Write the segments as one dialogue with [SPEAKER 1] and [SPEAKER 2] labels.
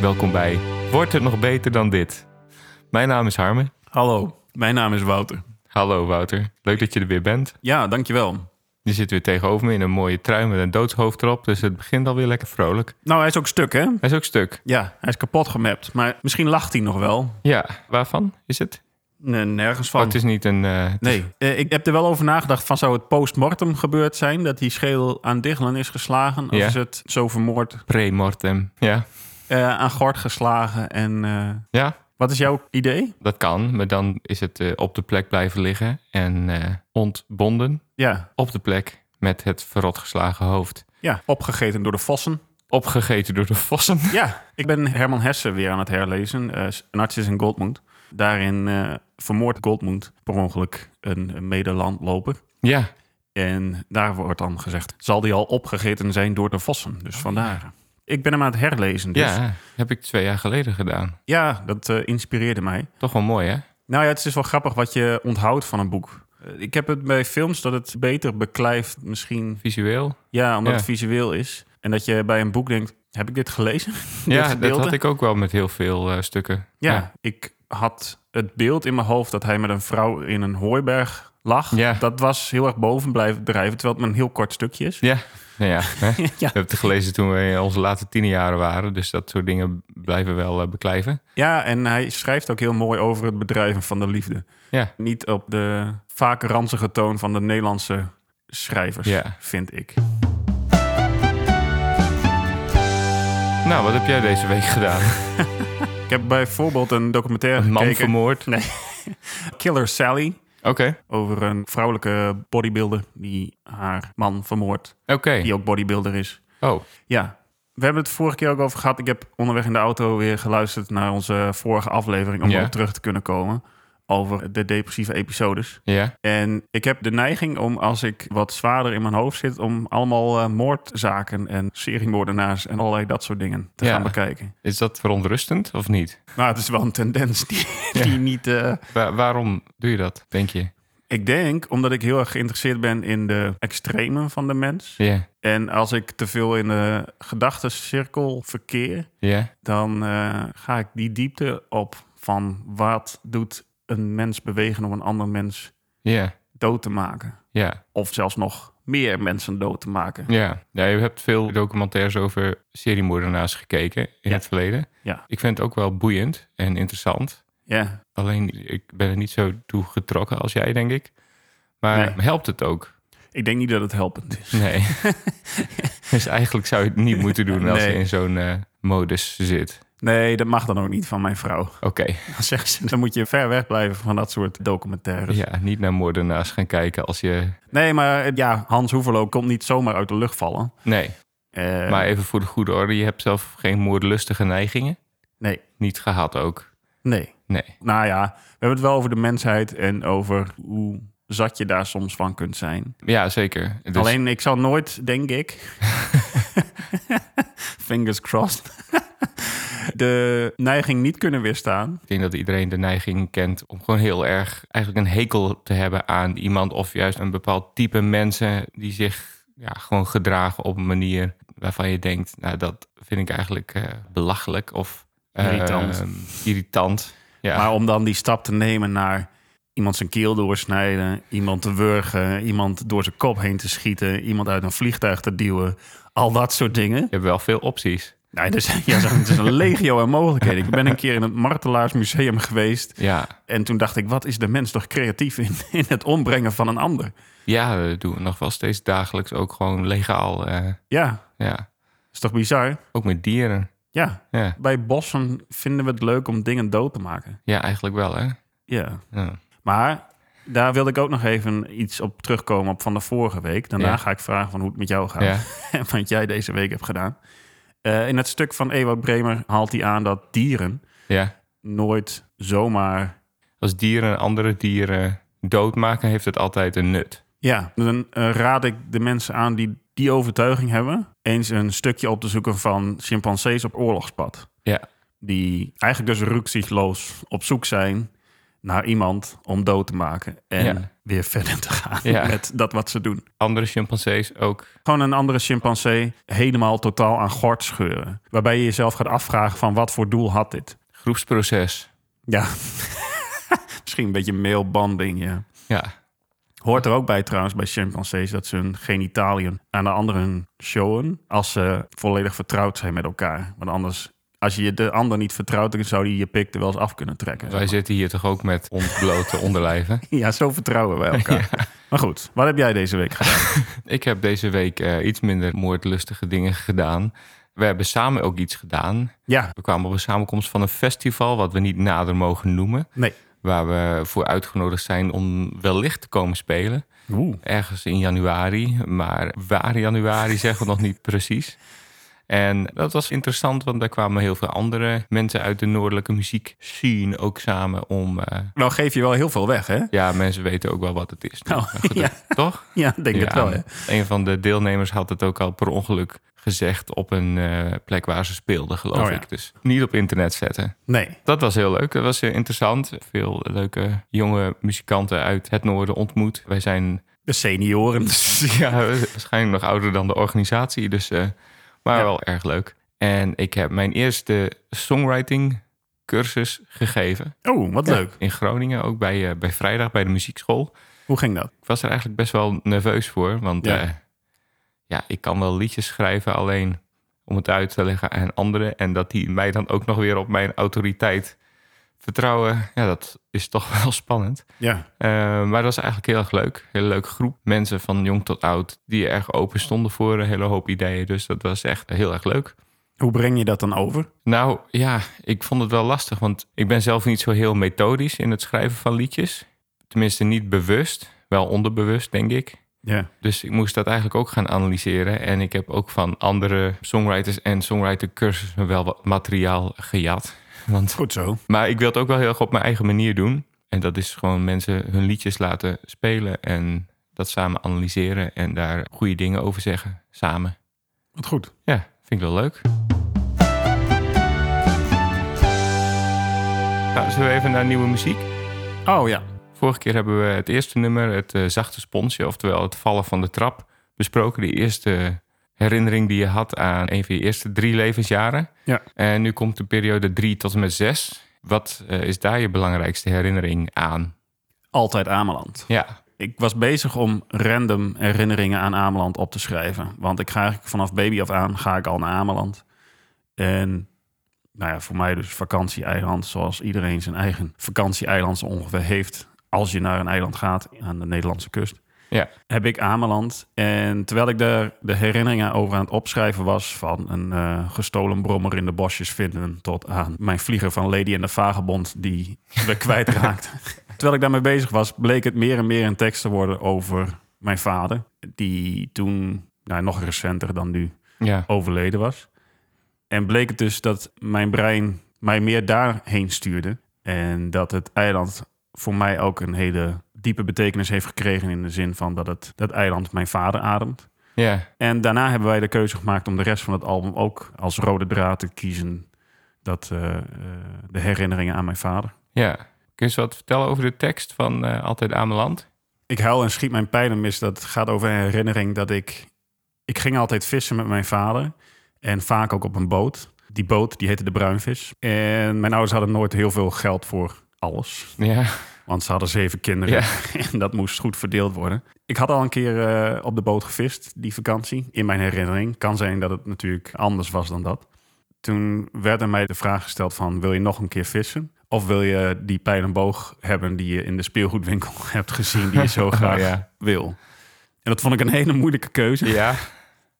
[SPEAKER 1] welkom bij Wordt het nog beter dan dit? Mijn naam is Harmen.
[SPEAKER 2] Hallo, mijn naam is Wouter.
[SPEAKER 1] Hallo Wouter, leuk dat je er weer bent.
[SPEAKER 2] Ja, dankjewel.
[SPEAKER 1] Je zit weer tegenover me in een mooie trui met een doodshoofd erop, dus het begint alweer lekker vrolijk.
[SPEAKER 2] Nou, hij is ook stuk, hè?
[SPEAKER 1] Hij is ook stuk.
[SPEAKER 2] Ja, hij is kapot gemapt. Maar misschien lacht hij nog wel.
[SPEAKER 1] Ja, waarvan is het?
[SPEAKER 2] Nee, nergens
[SPEAKER 1] Oh,
[SPEAKER 2] van.
[SPEAKER 1] het is niet een... eh, het is-
[SPEAKER 2] Nee, eh, ik heb er wel over nagedacht van zou het postmortem gebeurd zijn dat die schedel aan Dichlan is geslagen? Of
[SPEAKER 1] Ja.
[SPEAKER 2] is het zo vermoord
[SPEAKER 1] Pre-mortem. Ja.
[SPEAKER 2] eh, aan Gort geslagen? En eh,
[SPEAKER 1] ja,
[SPEAKER 2] wat is jouw idee?
[SPEAKER 1] dat kan, maar dan is het eh, op de plek blijven liggen en eh, ontbonden
[SPEAKER 2] Ja,
[SPEAKER 1] op de plek met het verrotgeslagen hoofd.
[SPEAKER 2] ja, opgegeten door de vossen.
[SPEAKER 1] Opgegeten door de vossen.
[SPEAKER 2] Ja, ik ben Herman Hesse weer aan het herlezen. eh Narcissus en Goldmund. Daarin eh vermoordt Goldmund per ongeluk een medelandloper.
[SPEAKER 1] ja,
[SPEAKER 2] En daar wordt dan gezegd, zal die al opgegeten zijn door de vossen. Dus vandaar. Ik ben hem aan het herlezen. Dus. Ja.
[SPEAKER 1] ja, heb ik twee jaar geleden gedaan.
[SPEAKER 2] dat eh, inspireerde mij.
[SPEAKER 1] Toch wel mooi, hè?
[SPEAKER 2] Nou ja, het is wel grappig wat je onthoudt van een boek. Eh, Ik heb het bij films dat het beter beklijft misschien.
[SPEAKER 1] Visueel.
[SPEAKER 2] Ja, omdat
[SPEAKER 1] Ja.
[SPEAKER 2] het visueel is. En dat je bij een boek denkt, heb ik dit gelezen? Dit
[SPEAKER 1] Ja, dat
[SPEAKER 2] gedeelte?
[SPEAKER 1] had ik ook wel met heel veel eh, stukken.
[SPEAKER 2] Ja,
[SPEAKER 1] ja.
[SPEAKER 2] ik had het beeld in mijn hoofd dat hij met een vrouw in een hooiberg lag.
[SPEAKER 1] Ja.
[SPEAKER 2] Dat was heel erg boven blijven drijven, terwijl het maar een heel kort stukje is.
[SPEAKER 1] Ja, nou ja. hè. We
[SPEAKER 2] ja.
[SPEAKER 1] hebben het gelezen toen we in onze late tienerjaren waren. Dus dat soort dingen blijven wel eh, beklijven.
[SPEAKER 2] Ja, en hij schrijft ook heel mooi over het bedrijven van de liefde.
[SPEAKER 1] Ja.
[SPEAKER 2] Niet op de vaak ranzige toon van de Nederlandse schrijvers,
[SPEAKER 1] Ja.
[SPEAKER 2] vind ik.
[SPEAKER 1] Nou, wat heb jij deze week gedaan?
[SPEAKER 2] Ik heb bijvoorbeeld een documentaire
[SPEAKER 1] Een man
[SPEAKER 2] gekeken,
[SPEAKER 1] vermoord.
[SPEAKER 2] Killer Sally,
[SPEAKER 1] Oké,
[SPEAKER 2] over een vrouwelijke bodybuilder die haar man vermoordt,
[SPEAKER 1] oké.
[SPEAKER 2] die ook bodybuilder is.
[SPEAKER 1] Oh,
[SPEAKER 2] Ja, we hebben het vorige keer ook over gehad. Ik heb onderweg in de auto weer geluisterd naar onze vorige aflevering om
[SPEAKER 1] Ja.
[SPEAKER 2] op terug te kunnen komen over de depressieve episodes.
[SPEAKER 1] ja.
[SPEAKER 2] En ik heb de neiging om, als ik wat zwaarder in mijn hoofd zit, om allemaal eh, moordzaken en seriemoordenaars en allerlei dat soort dingen te
[SPEAKER 1] Ja.
[SPEAKER 2] gaan bekijken.
[SPEAKER 1] Is dat verontrustend of niet?
[SPEAKER 2] Maar het is wel een tendens die, die niet. eh,
[SPEAKER 1] Wa- waarom doe je dat, denk je?
[SPEAKER 2] ik denk omdat ik heel erg geïnteresseerd ben in de extremen van de mens.
[SPEAKER 1] Ja,
[SPEAKER 2] En als ik te veel in de gedachtencirkel verkeer,
[SPEAKER 1] ja.
[SPEAKER 2] dan eh, ga ik die diepte op van wat doet een mens bewegen om een ander mens
[SPEAKER 1] Ja,
[SPEAKER 2] dood te maken.
[SPEAKER 1] ja,
[SPEAKER 2] Of zelfs nog meer mensen dood te maken.
[SPEAKER 1] ja. Ja, je hebt veel documentaires over seriemoordenaars gekeken in
[SPEAKER 2] Ja.
[SPEAKER 1] het verleden.
[SPEAKER 2] Ja.
[SPEAKER 1] Ik vind het ook wel boeiend en interessant.
[SPEAKER 2] Ja.
[SPEAKER 1] Alleen, ik ben er niet zo toe getrokken als jij, denk ik. Maar
[SPEAKER 2] Nee.
[SPEAKER 1] helpt het ook?
[SPEAKER 2] Ik denk niet dat het helpend is.
[SPEAKER 1] Nee. dus eigenlijk zou je het niet moeten doen als je
[SPEAKER 2] Nee.
[SPEAKER 1] in zo'n eh, modus zit.
[SPEAKER 2] Nee, dat mag dan ook niet van mijn vrouw.
[SPEAKER 1] Oké,
[SPEAKER 2] Dan zegt ze, dan moet je ver weg blijven van dat soort documentaires.
[SPEAKER 1] ja, niet naar moordenaars gaan kijken als je...
[SPEAKER 2] Nee, maar eh, ja, Hans Hoevelo komt niet zomaar uit de lucht vallen.
[SPEAKER 1] Nee,
[SPEAKER 2] Eh,
[SPEAKER 1] maar even voor de goede orde. Je hebt zelf geen moordlustige neigingen.
[SPEAKER 2] Nee,
[SPEAKER 1] Niet gehad ook.
[SPEAKER 2] nee.
[SPEAKER 1] Nee,
[SPEAKER 2] Nou ja, we hebben het wel over de mensheid en over hoe zat je daar soms van kunt zijn.
[SPEAKER 1] ja, zeker. Dus-
[SPEAKER 2] Alleen ik zal nooit, denk ik, fingers crossed, de neiging niet kunnen weerstaan.
[SPEAKER 1] Ik denk dat iedereen de neiging kent om gewoon heel erg eigenlijk een hekel te hebben aan iemand of juist een bepaald type mensen die zich ja, gewoon gedragen op een manier waarvan je denkt, nou dat vind ik eigenlijk eh, belachelijk of eh,
[SPEAKER 2] Irritant.
[SPEAKER 1] irritant. Ja,
[SPEAKER 2] Maar om dan die stap te nemen naar iemand zijn keel doorsnijden, iemand te wurgen, iemand door zijn kop heen te schieten, iemand uit een vliegtuig te duwen, al dat soort dingen.
[SPEAKER 1] je hebt wel veel opties.
[SPEAKER 2] Nee, er zijn, ja, zo- het is een legio aan mogelijkheden. Ik ben een keer in het Martelaarsmuseum geweest
[SPEAKER 1] Ja,
[SPEAKER 2] en toen dacht ik, wat is de mens toch creatief in, in het ombrengen van een ander?
[SPEAKER 1] ja we doen nog wel steeds dagelijks ook gewoon legaal. eh,
[SPEAKER 2] Ja,
[SPEAKER 1] ja,
[SPEAKER 2] is toch bizar?
[SPEAKER 1] ook met dieren.
[SPEAKER 2] Ja,
[SPEAKER 1] Ja,
[SPEAKER 2] bij bossen vinden we het leuk om dingen dood te maken.
[SPEAKER 1] ja eigenlijk wel hè.
[SPEAKER 2] Ja.
[SPEAKER 1] Ja.
[SPEAKER 2] Maar daar wilde ik ook nog even iets op terugkomen op van de vorige week. Daarna
[SPEAKER 1] Ja.
[SPEAKER 2] ga ik vragen van hoe het met jou gaat.
[SPEAKER 1] Ja.
[SPEAKER 2] wat jij deze week hebt gedaan. Eh, in het stuk van Ewout Bremer haalt hij aan dat dieren
[SPEAKER 1] ja,
[SPEAKER 2] nooit zomaar...
[SPEAKER 1] als dieren andere dieren doodmaken, heeft het altijd een nut.
[SPEAKER 2] Ja, dan eh, raad ik de mensen aan die die overtuiging hebben... eens een stukje op te zoeken van chimpansees op oorlogspad.
[SPEAKER 1] Ja.
[SPEAKER 2] Die eigenlijk dus rukzichtloos op zoek zijn naar iemand om dood te maken. En
[SPEAKER 1] Ja.
[SPEAKER 2] weer verder te gaan
[SPEAKER 1] Ja.
[SPEAKER 2] met dat wat ze doen.
[SPEAKER 1] Andere chimpansees ook.
[SPEAKER 2] Gewoon een andere chimpansee helemaal totaal aan gort scheuren. Waarbij je jezelf gaat afvragen van wat voor doel had dit?
[SPEAKER 1] Groepsproces.
[SPEAKER 2] Ja, misschien een beetje male bonding, ja.
[SPEAKER 1] Ja,
[SPEAKER 2] Hoort er ook bij trouwens bij chimpansees dat ze hun genitaliën aan de anderen showen als ze volledig vertrouwd zijn met elkaar. Want anders, als je de ander niet vertrouwt, dan zou die je pik er wel eens af kunnen trekken.
[SPEAKER 1] wij zitten hier toch ook met ontblote onderlijven.
[SPEAKER 2] Ja, zo vertrouwen wij elkaar. Maar goed, wat heb jij deze week gedaan?
[SPEAKER 1] Ik heb deze week eh, iets minder moordlustige dingen gedaan. We hebben samen ook iets gedaan.
[SPEAKER 2] Ja,
[SPEAKER 1] We kwamen op een samenkomst van een festival, wat we niet nader mogen noemen.
[SPEAKER 2] nee.
[SPEAKER 1] Waar we voor uitgenodigd zijn om wellicht te komen spelen.
[SPEAKER 2] Oeh.
[SPEAKER 1] Ergens in januari, maar waar januari zeggen we nog niet precies. En dat was interessant, want daar kwamen heel veel andere mensen uit de noordelijke muziek scene ook samen om. eh,
[SPEAKER 2] Nou geef je wel heel veel weg, hè?
[SPEAKER 1] ja, mensen weten ook wel wat het is. nu.
[SPEAKER 2] Nou,
[SPEAKER 1] Maar goed,
[SPEAKER 2] ja.
[SPEAKER 1] dat- Toch?
[SPEAKER 2] Ja, denk
[SPEAKER 1] Ja,
[SPEAKER 2] het wel, hè?
[SPEAKER 1] Een van de deelnemers had het ook al per ongeluk gezegd op een eh, plek waar ze speelden, geloof
[SPEAKER 2] Oh ja.
[SPEAKER 1] ik. Dus niet op internet zetten.
[SPEAKER 2] Nee.
[SPEAKER 1] Dat was heel leuk. Dat was eh, interessant. Veel leuke jonge muzikanten uit het noorden ontmoet. Wij zijn
[SPEAKER 2] De senioren.
[SPEAKER 1] ja, waarschijnlijk nog ouder dan de organisatie, dus, eh, maar
[SPEAKER 2] Ja.
[SPEAKER 1] wel erg leuk. En ik heb mijn eerste songwriting cursus gegeven
[SPEAKER 2] Oh, wat leuk.
[SPEAKER 1] in Groningen, ook bij, eh, bij Vrijdag bij de muziekschool.
[SPEAKER 2] Hoe ging dat?
[SPEAKER 1] Ik was er eigenlijk best wel nerveus voor, want
[SPEAKER 2] Ja.
[SPEAKER 1] ja, ja ik kan wel liedjes schrijven, alleen om het uit te leggen aan anderen en dat die mij dan ook nog weer op mijn autoriteit vertrouwen, ja, dat is toch wel spannend.
[SPEAKER 2] Ja.
[SPEAKER 1] Eh, maar dat was eigenlijk heel erg leuk. Hele leuke groep. Mensen van jong tot oud die erg open stonden voor een hele hoop ideeën. Dus dat was echt heel erg leuk.
[SPEAKER 2] Hoe breng je dat dan over?
[SPEAKER 1] Nou ja, ik vond het wel lastig, want ik ben zelf niet zo heel methodisch in het schrijven van liedjes. Tenminste, niet bewust, wel onderbewust, denk ik.
[SPEAKER 2] Ja.
[SPEAKER 1] Dus ik moest dat eigenlijk ook gaan analyseren. En ik heb ook van andere songwriters en songwritercursussen wel wat materiaal gejat. Want
[SPEAKER 2] Goed zo.
[SPEAKER 1] maar ik wil het ook wel heel erg op mijn eigen manier doen. En dat is gewoon mensen hun liedjes laten spelen en dat samen analyseren en daar goede dingen over zeggen samen.
[SPEAKER 2] Wat goed.
[SPEAKER 1] Ja, vind ik wel leuk. Nou, zullen we even naar nieuwe muziek?
[SPEAKER 2] Oh ja.
[SPEAKER 1] Vorige keer hebben we het eerste nummer, het eh, zachte sponsje, oftewel het vallen van de trap, besproken. De eerste herinnering die je had aan een van je eerste drie levensjaren.
[SPEAKER 2] Ja.
[SPEAKER 1] En nu komt de periode drie tot en met zes. Wat eh, is daar je belangrijkste herinnering aan?
[SPEAKER 2] Altijd Ameland.
[SPEAKER 1] Ja,
[SPEAKER 2] Ik was bezig om random herinneringen aan Ameland op te schrijven. Want ik ga eigenlijk vanaf baby af aan ga ik al naar Ameland. En nou ja, voor mij dus vakantieeiland, zoals iedereen zijn eigen vakantieeiland zo ongeveer heeft. Als je naar een eiland gaat aan de Nederlandse kust.
[SPEAKER 1] Ja.
[SPEAKER 2] Heb ik Ameland. En terwijl ik daar de herinneringen over aan het opschrijven was... van een eh, gestolen brommer in de bosjes vinden... tot aan mijn vlieger van Lady en de Vagebond die we kwijtraakten. Terwijl ik daarmee bezig was, bleek het meer en meer een tekst te worden over mijn vader. Die toen, nou, nog recenter dan nu,
[SPEAKER 1] ja.
[SPEAKER 2] overleden was. En bleek het dus dat mijn brein mij meer daarheen stuurde. En dat het eiland voor mij ook een hele diepe betekenis heeft gekregen. In de zin van dat het, dat eiland mijn vader ademt.
[SPEAKER 1] ja.
[SPEAKER 2] En daarna hebben wij de keuze gemaakt om de rest van het album ook als rode draad te kiezen. Dat eh, eh, de herinneringen aan mijn vader.
[SPEAKER 1] Ja. Kun je eens wat vertellen over de tekst van eh, Altijd Ameland?
[SPEAKER 2] Ik huil en schiet mijn pijlen mis. Dat gaat over een herinnering dat ik... Ik ging altijd vissen met mijn vader. En vaak ook op een boot. Die boot, die heette de Bruinvis. En mijn ouders hadden nooit heel veel geld voor alles.
[SPEAKER 1] Ja,
[SPEAKER 2] Want ze hadden zeven kinderen. En dat moest goed verdeeld worden. Ik had al een keer eh, op de boot gevist, die vakantie. In mijn herinnering. Kan zijn dat het natuurlijk anders was dan dat. Toen werd aan mij de vraag gesteld van... wil je nog een keer vissen? Of wil je die pijl en boog hebben die je in de speelgoedwinkel hebt gezien... die je zo graag
[SPEAKER 1] ja.
[SPEAKER 2] wil? En dat vond ik een hele moeilijke keuze.
[SPEAKER 1] Ja,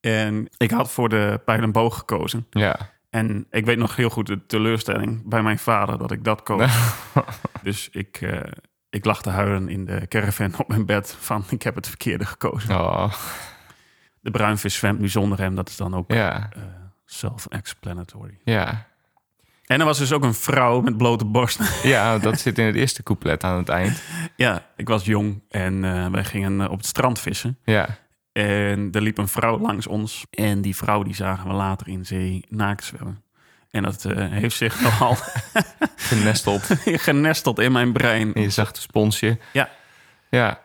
[SPEAKER 2] En ik had voor de pijl en boog gekozen.
[SPEAKER 1] ja.
[SPEAKER 2] En ik weet nog heel goed de teleurstelling bij mijn vader dat ik dat koos. dus ik, eh, ik lag te huilen in de caravan op mijn bed van ik heb het verkeerde gekozen.
[SPEAKER 1] Oh,
[SPEAKER 2] De bruinvis zwemt nu zonder hem, dat is dan ook
[SPEAKER 1] ja,
[SPEAKER 2] eh, self-explanatory.
[SPEAKER 1] ja.
[SPEAKER 2] En er was dus ook een vrouw met blote borst.
[SPEAKER 1] Ja, dat zit in het eerste couplet aan het eind.
[SPEAKER 2] ja, ik was jong en eh, wij gingen eh, op het strand vissen.
[SPEAKER 1] Ja,
[SPEAKER 2] En er liep een vrouw langs ons. En die vrouw die zagen we later in zee naakt zwemmen. En dat eh, heeft zich nogal
[SPEAKER 1] genesteld
[SPEAKER 2] genesteld in mijn brein.
[SPEAKER 1] in je zachte sponsje.
[SPEAKER 2] Ja.
[SPEAKER 1] Ja,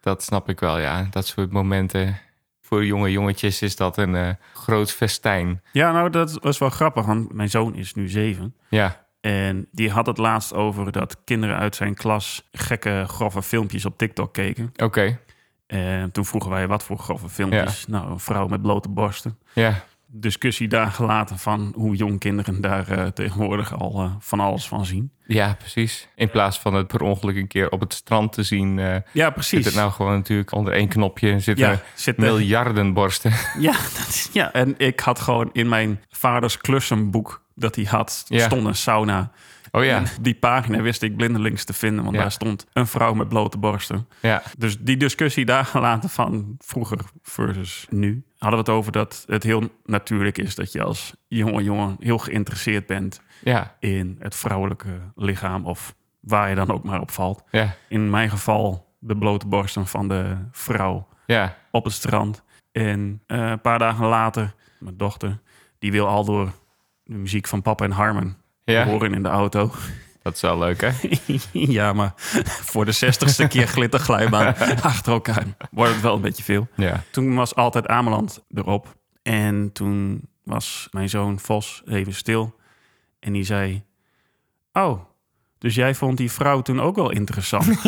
[SPEAKER 1] dat snap ik wel, ja. Dat soort momenten. Voor jonge jongetjes is dat een eh, groot festijn.
[SPEAKER 2] Ja, nou, dat was wel grappig, want mijn zoon is nu zeven.
[SPEAKER 1] Ja,
[SPEAKER 2] En die had het laatst over dat kinderen uit zijn klas gekke, grove filmpjes op TikTok keken.
[SPEAKER 1] oké.
[SPEAKER 2] En toen vroegen wij wat voor grove filmpjes. Nou, een vrouw met blote borsten.
[SPEAKER 1] Ja,
[SPEAKER 2] Discussie dagen later van hoe jong kinderen daar eh, tegenwoordig al eh, van alles van zien.
[SPEAKER 1] ja, precies. In plaats van het per ongeluk een keer op het strand te zien... eh,
[SPEAKER 2] Ja,
[SPEAKER 1] zit
[SPEAKER 2] precies.
[SPEAKER 1] het nou gewoon natuurlijk onder één knopje. Zitten
[SPEAKER 2] ja, zit er-
[SPEAKER 1] miljarden borsten.
[SPEAKER 2] ja, dat is- ja, en ik had gewoon in mijn vaders klussenboek dat hij had,
[SPEAKER 1] Ja.
[SPEAKER 2] stond een sauna.
[SPEAKER 1] Oh ja,
[SPEAKER 2] En die pagina wist ik blindelings te vinden, want
[SPEAKER 1] Ja.
[SPEAKER 2] daar stond een vrouw met blote borsten.
[SPEAKER 1] ja.
[SPEAKER 2] Dus die discussie dagen later van vroeger versus nu. Hadden we het over dat het heel natuurlijk is dat je als jonge jongen heel geïnteresseerd bent
[SPEAKER 1] Ja,
[SPEAKER 2] in het vrouwelijke lichaam of waar je dan ook maar op valt.
[SPEAKER 1] ja,
[SPEAKER 2] In mijn geval de blote borsten van de vrouw
[SPEAKER 1] ja.
[SPEAKER 2] op het strand. En eh, een paar dagen later, mijn dochter, die wil al door de muziek van papa en Harmon
[SPEAKER 1] Ja,
[SPEAKER 2] horen in de auto.
[SPEAKER 1] dat is wel leuk, hè?
[SPEAKER 2] ja, maar voor de zestigste keer glitterglijbaan achter elkaar wordt het wel een beetje veel.
[SPEAKER 1] Ja,
[SPEAKER 2] Toen was altijd Ameland erop. En toen was mijn zoon Vos even stil. En die zei... Oh, dus jij vond die vrouw toen ook wel interessant?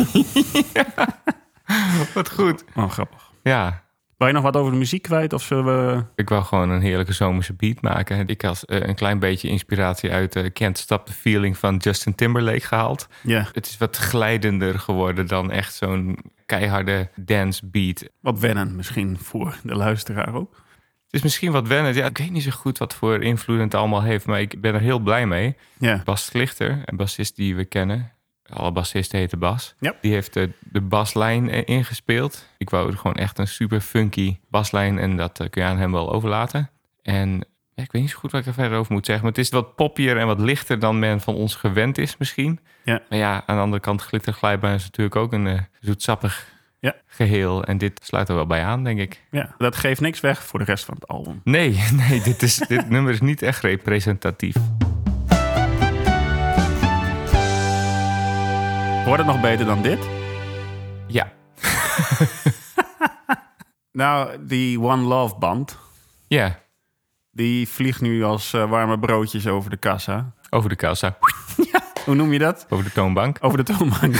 [SPEAKER 1] wat goed.
[SPEAKER 2] oh, grappig.
[SPEAKER 1] Ja,
[SPEAKER 2] Wil je nog wat over de muziek kwijt? Of zullen we...
[SPEAKER 1] ik wil gewoon een heerlijke zomerse beat maken. Ik had eh, een klein beetje inspiratie uit eh, Can't Stop the Feeling van Justin Timberlake gehaald.
[SPEAKER 2] Ja,
[SPEAKER 1] Het is wat glijdender geworden dan echt zo'n keiharde dance beat.
[SPEAKER 2] wat wennen misschien voor de luisteraar ook.
[SPEAKER 1] Het is misschien wat wennen. Ja, ik weet niet zo goed wat voor invloed het allemaal heeft, maar ik ben er heel blij mee.
[SPEAKER 2] Ja,
[SPEAKER 1] Bas Klichter, een bassist die we kennen. Alle bassisten heten Bas.
[SPEAKER 2] Ja.
[SPEAKER 1] Die heeft de, de baslijn eh, ingespeeld. Ik wou er gewoon echt een super funky baslijn en dat eh, kun je aan hem wel overlaten. En ja, ik weet niet zo goed wat ik er verder over moet zeggen. Maar het is wat poppier en wat lichter dan men van ons gewend is misschien.
[SPEAKER 2] Ja.
[SPEAKER 1] Maar ja, aan de andere kant glitterglijbaan is natuurlijk ook een eh, zoetsappig
[SPEAKER 2] Ja.
[SPEAKER 1] geheel. En dit sluit er wel bij aan, denk ik.
[SPEAKER 2] ja, dat geeft niks weg voor de rest van het album.
[SPEAKER 1] Nee, nee dit, is, dit nummer is niet echt representatief.
[SPEAKER 2] Wordt het nog beter dan dit?
[SPEAKER 1] Ja,
[SPEAKER 2] Nou, die One Love band,
[SPEAKER 1] ja.
[SPEAKER 2] die vliegt nu als eh, warme broodjes over de kassa.
[SPEAKER 1] Over de kassa,
[SPEAKER 2] Hoe noem je dat?
[SPEAKER 1] over de toonbank.
[SPEAKER 2] Over de toonbank.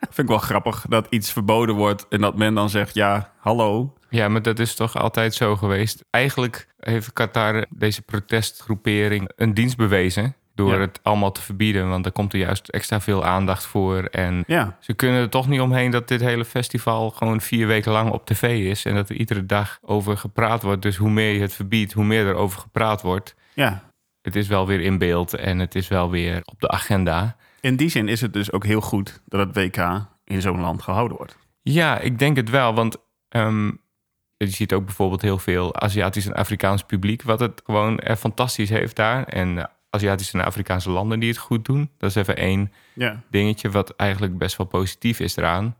[SPEAKER 2] Vind ik wel grappig dat iets verboden wordt en dat men dan zegt: ja, hallo.
[SPEAKER 1] Ja, maar dat is toch altijd zo geweest. Eigenlijk heeft Qatar deze protestgroepering een dienst bewezen door
[SPEAKER 2] Ja.
[SPEAKER 1] het allemaal te verbieden, want daar komt er juist extra veel aandacht voor en
[SPEAKER 2] Ja,
[SPEAKER 1] ze kunnen er toch niet omheen dat dit hele festival gewoon vier weken lang op tv is en dat er iedere dag over gepraat wordt. Dus hoe meer je het verbiedt, hoe meer er over gepraat wordt.
[SPEAKER 2] ja.
[SPEAKER 1] Het is wel weer in beeld en het is wel weer op de agenda.
[SPEAKER 2] In die zin is het dus ook heel goed dat het WK in zo'n land gehouden wordt.
[SPEAKER 1] Ja, ik denk het wel. Want ehm, je ziet ook bijvoorbeeld heel veel Aziatisch en Afrikaans publiek, wat het gewoon eh, fantastisch heeft daar. En eh, Aziatische en Afrikaanse landen die het goed doen. Dat is even één
[SPEAKER 2] Ja,
[SPEAKER 1] dingetje wat eigenlijk best wel positief is eraan.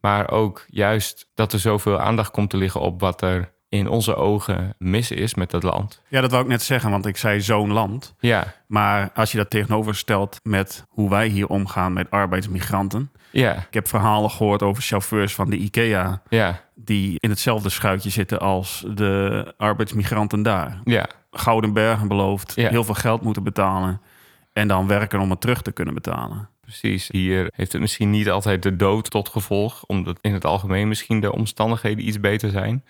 [SPEAKER 1] Maar ook juist dat er zoveel aandacht komt te liggen op wat er in onze ogen mis is met dat land.
[SPEAKER 2] ja dat wou ik net zeggen, want ik zei zo'n land.
[SPEAKER 1] Ja,
[SPEAKER 2] Maar als je dat tegenoverstelt met hoe wij hier omgaan met arbeidsmigranten.
[SPEAKER 1] ja,
[SPEAKER 2] Ik heb verhalen gehoord over chauffeurs van de IKEA.
[SPEAKER 1] ja,
[SPEAKER 2] die in hetzelfde schuitje zitten als de arbeidsmigranten daar.
[SPEAKER 1] ja,
[SPEAKER 2] gouden bergen beloofd,
[SPEAKER 1] Ja.
[SPEAKER 2] heel veel geld moeten betalen. En dan werken om het terug te kunnen betalen.
[SPEAKER 1] precies. Hier heeft het misschien niet altijd de dood tot gevolg, omdat in het algemeen misschien de omstandigheden iets beter zijn.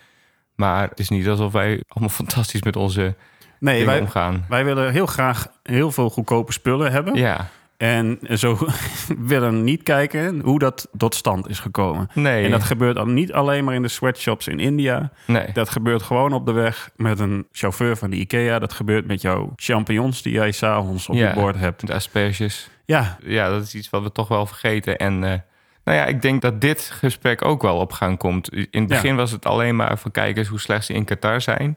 [SPEAKER 1] Maar het is niet alsof wij allemaal fantastisch met onze
[SPEAKER 2] Nee,
[SPEAKER 1] dingen
[SPEAKER 2] wij,
[SPEAKER 1] omgaan.
[SPEAKER 2] wij willen heel graag heel veel goedkope spullen hebben.
[SPEAKER 1] Ja,
[SPEAKER 2] En zo willen niet kijken hoe dat tot stand is gekomen.
[SPEAKER 1] nee,
[SPEAKER 2] En dat gebeurt dan niet alleen maar in de sweatshops in India.
[SPEAKER 1] nee.
[SPEAKER 2] Dat gebeurt gewoon op de weg met een chauffeur van de IKEA. Dat gebeurt met jouw champignons die jij s'avonds op
[SPEAKER 1] Ja.
[SPEAKER 2] je bord hebt.
[SPEAKER 1] de asperges.
[SPEAKER 2] Ja,
[SPEAKER 1] ja, dat is iets wat we toch wel vergeten. En eh, nou ja, ik denk dat dit gesprek ook wel op gang komt. In het
[SPEAKER 2] Ja.
[SPEAKER 1] begin was het alleen maar van kijkers hoe slecht ze in Qatar zijn.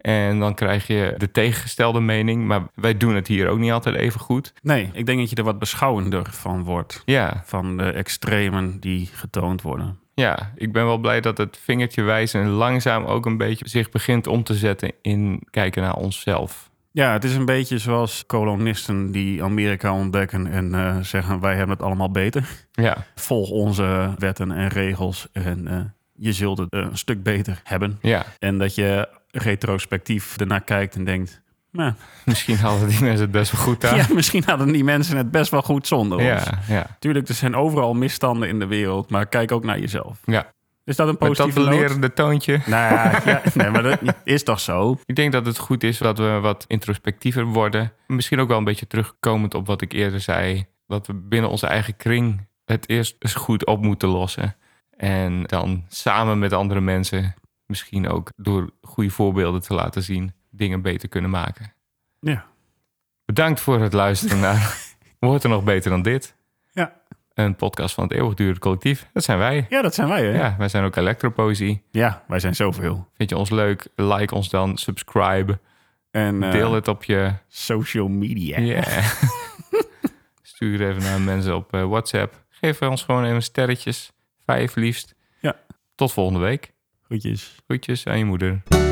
[SPEAKER 1] En dan krijg je de tegengestelde mening. Maar wij doen het hier ook niet altijd even goed.
[SPEAKER 2] nee, ik denk dat je er wat beschouwender van wordt.
[SPEAKER 1] Ja,
[SPEAKER 2] Van de extremen die getoond worden.
[SPEAKER 1] ja, ik ben wel blij dat het vingertje wijzen langzaam ook een beetje zich begint om te zetten in kijken naar onszelf.
[SPEAKER 2] Ja, het is een beetje zoals kolonisten die Amerika ontdekken en eh, zeggen wij hebben het allemaal beter.
[SPEAKER 1] Ja,
[SPEAKER 2] Volg onze wetten en regels en eh, je zult het eh, een stuk beter hebben.
[SPEAKER 1] ja.
[SPEAKER 2] En dat je retrospectief ernaar kijkt en denkt, nou,
[SPEAKER 1] misschien hadden die mensen het best wel goed
[SPEAKER 2] ja.
[SPEAKER 1] aan.
[SPEAKER 2] misschien hadden die mensen het best wel goed zonder ons.
[SPEAKER 1] ja, ja.
[SPEAKER 2] Tuurlijk, er zijn overal misstanden in de wereld, maar kijk ook naar jezelf.
[SPEAKER 1] Ja.
[SPEAKER 2] Is dat een
[SPEAKER 1] Met dat
[SPEAKER 2] positieve noot?
[SPEAKER 1] belerende toontje.
[SPEAKER 2] Nou ja, ja, nee, maar dat is toch zo?
[SPEAKER 1] Ik denk dat het goed is dat we wat introspectiever worden. Misschien ook wel een beetje terugkomend op wat ik eerder zei. Dat we binnen onze eigen kring het eerst eens goed op moeten lossen. En dan samen met andere mensen misschien ook door goede voorbeelden te laten zien... dingen beter kunnen maken.
[SPEAKER 2] Ja.
[SPEAKER 1] Bedankt voor het luisteren naar Wordt er nog beter dan dit?
[SPEAKER 2] Ja.
[SPEAKER 1] Een podcast van het eeuwigdurende collectief. Dat zijn wij.
[SPEAKER 2] Ja, dat zijn wij, hè?
[SPEAKER 1] Ja, wij zijn ook Electropoëzie.
[SPEAKER 2] Ja, wij zijn zoveel.
[SPEAKER 1] Vind je ons leuk? Like ons dan, subscribe,
[SPEAKER 2] En eh,
[SPEAKER 1] deel het op je
[SPEAKER 2] social media.
[SPEAKER 1] Ja. Stuur even naar mensen op eh, WhatsApp. Geef ons gewoon even sterretjes. Vijf liefst.
[SPEAKER 2] Ja.
[SPEAKER 1] Tot volgende week.
[SPEAKER 2] Groetjes.
[SPEAKER 1] Groetjes aan je moeder.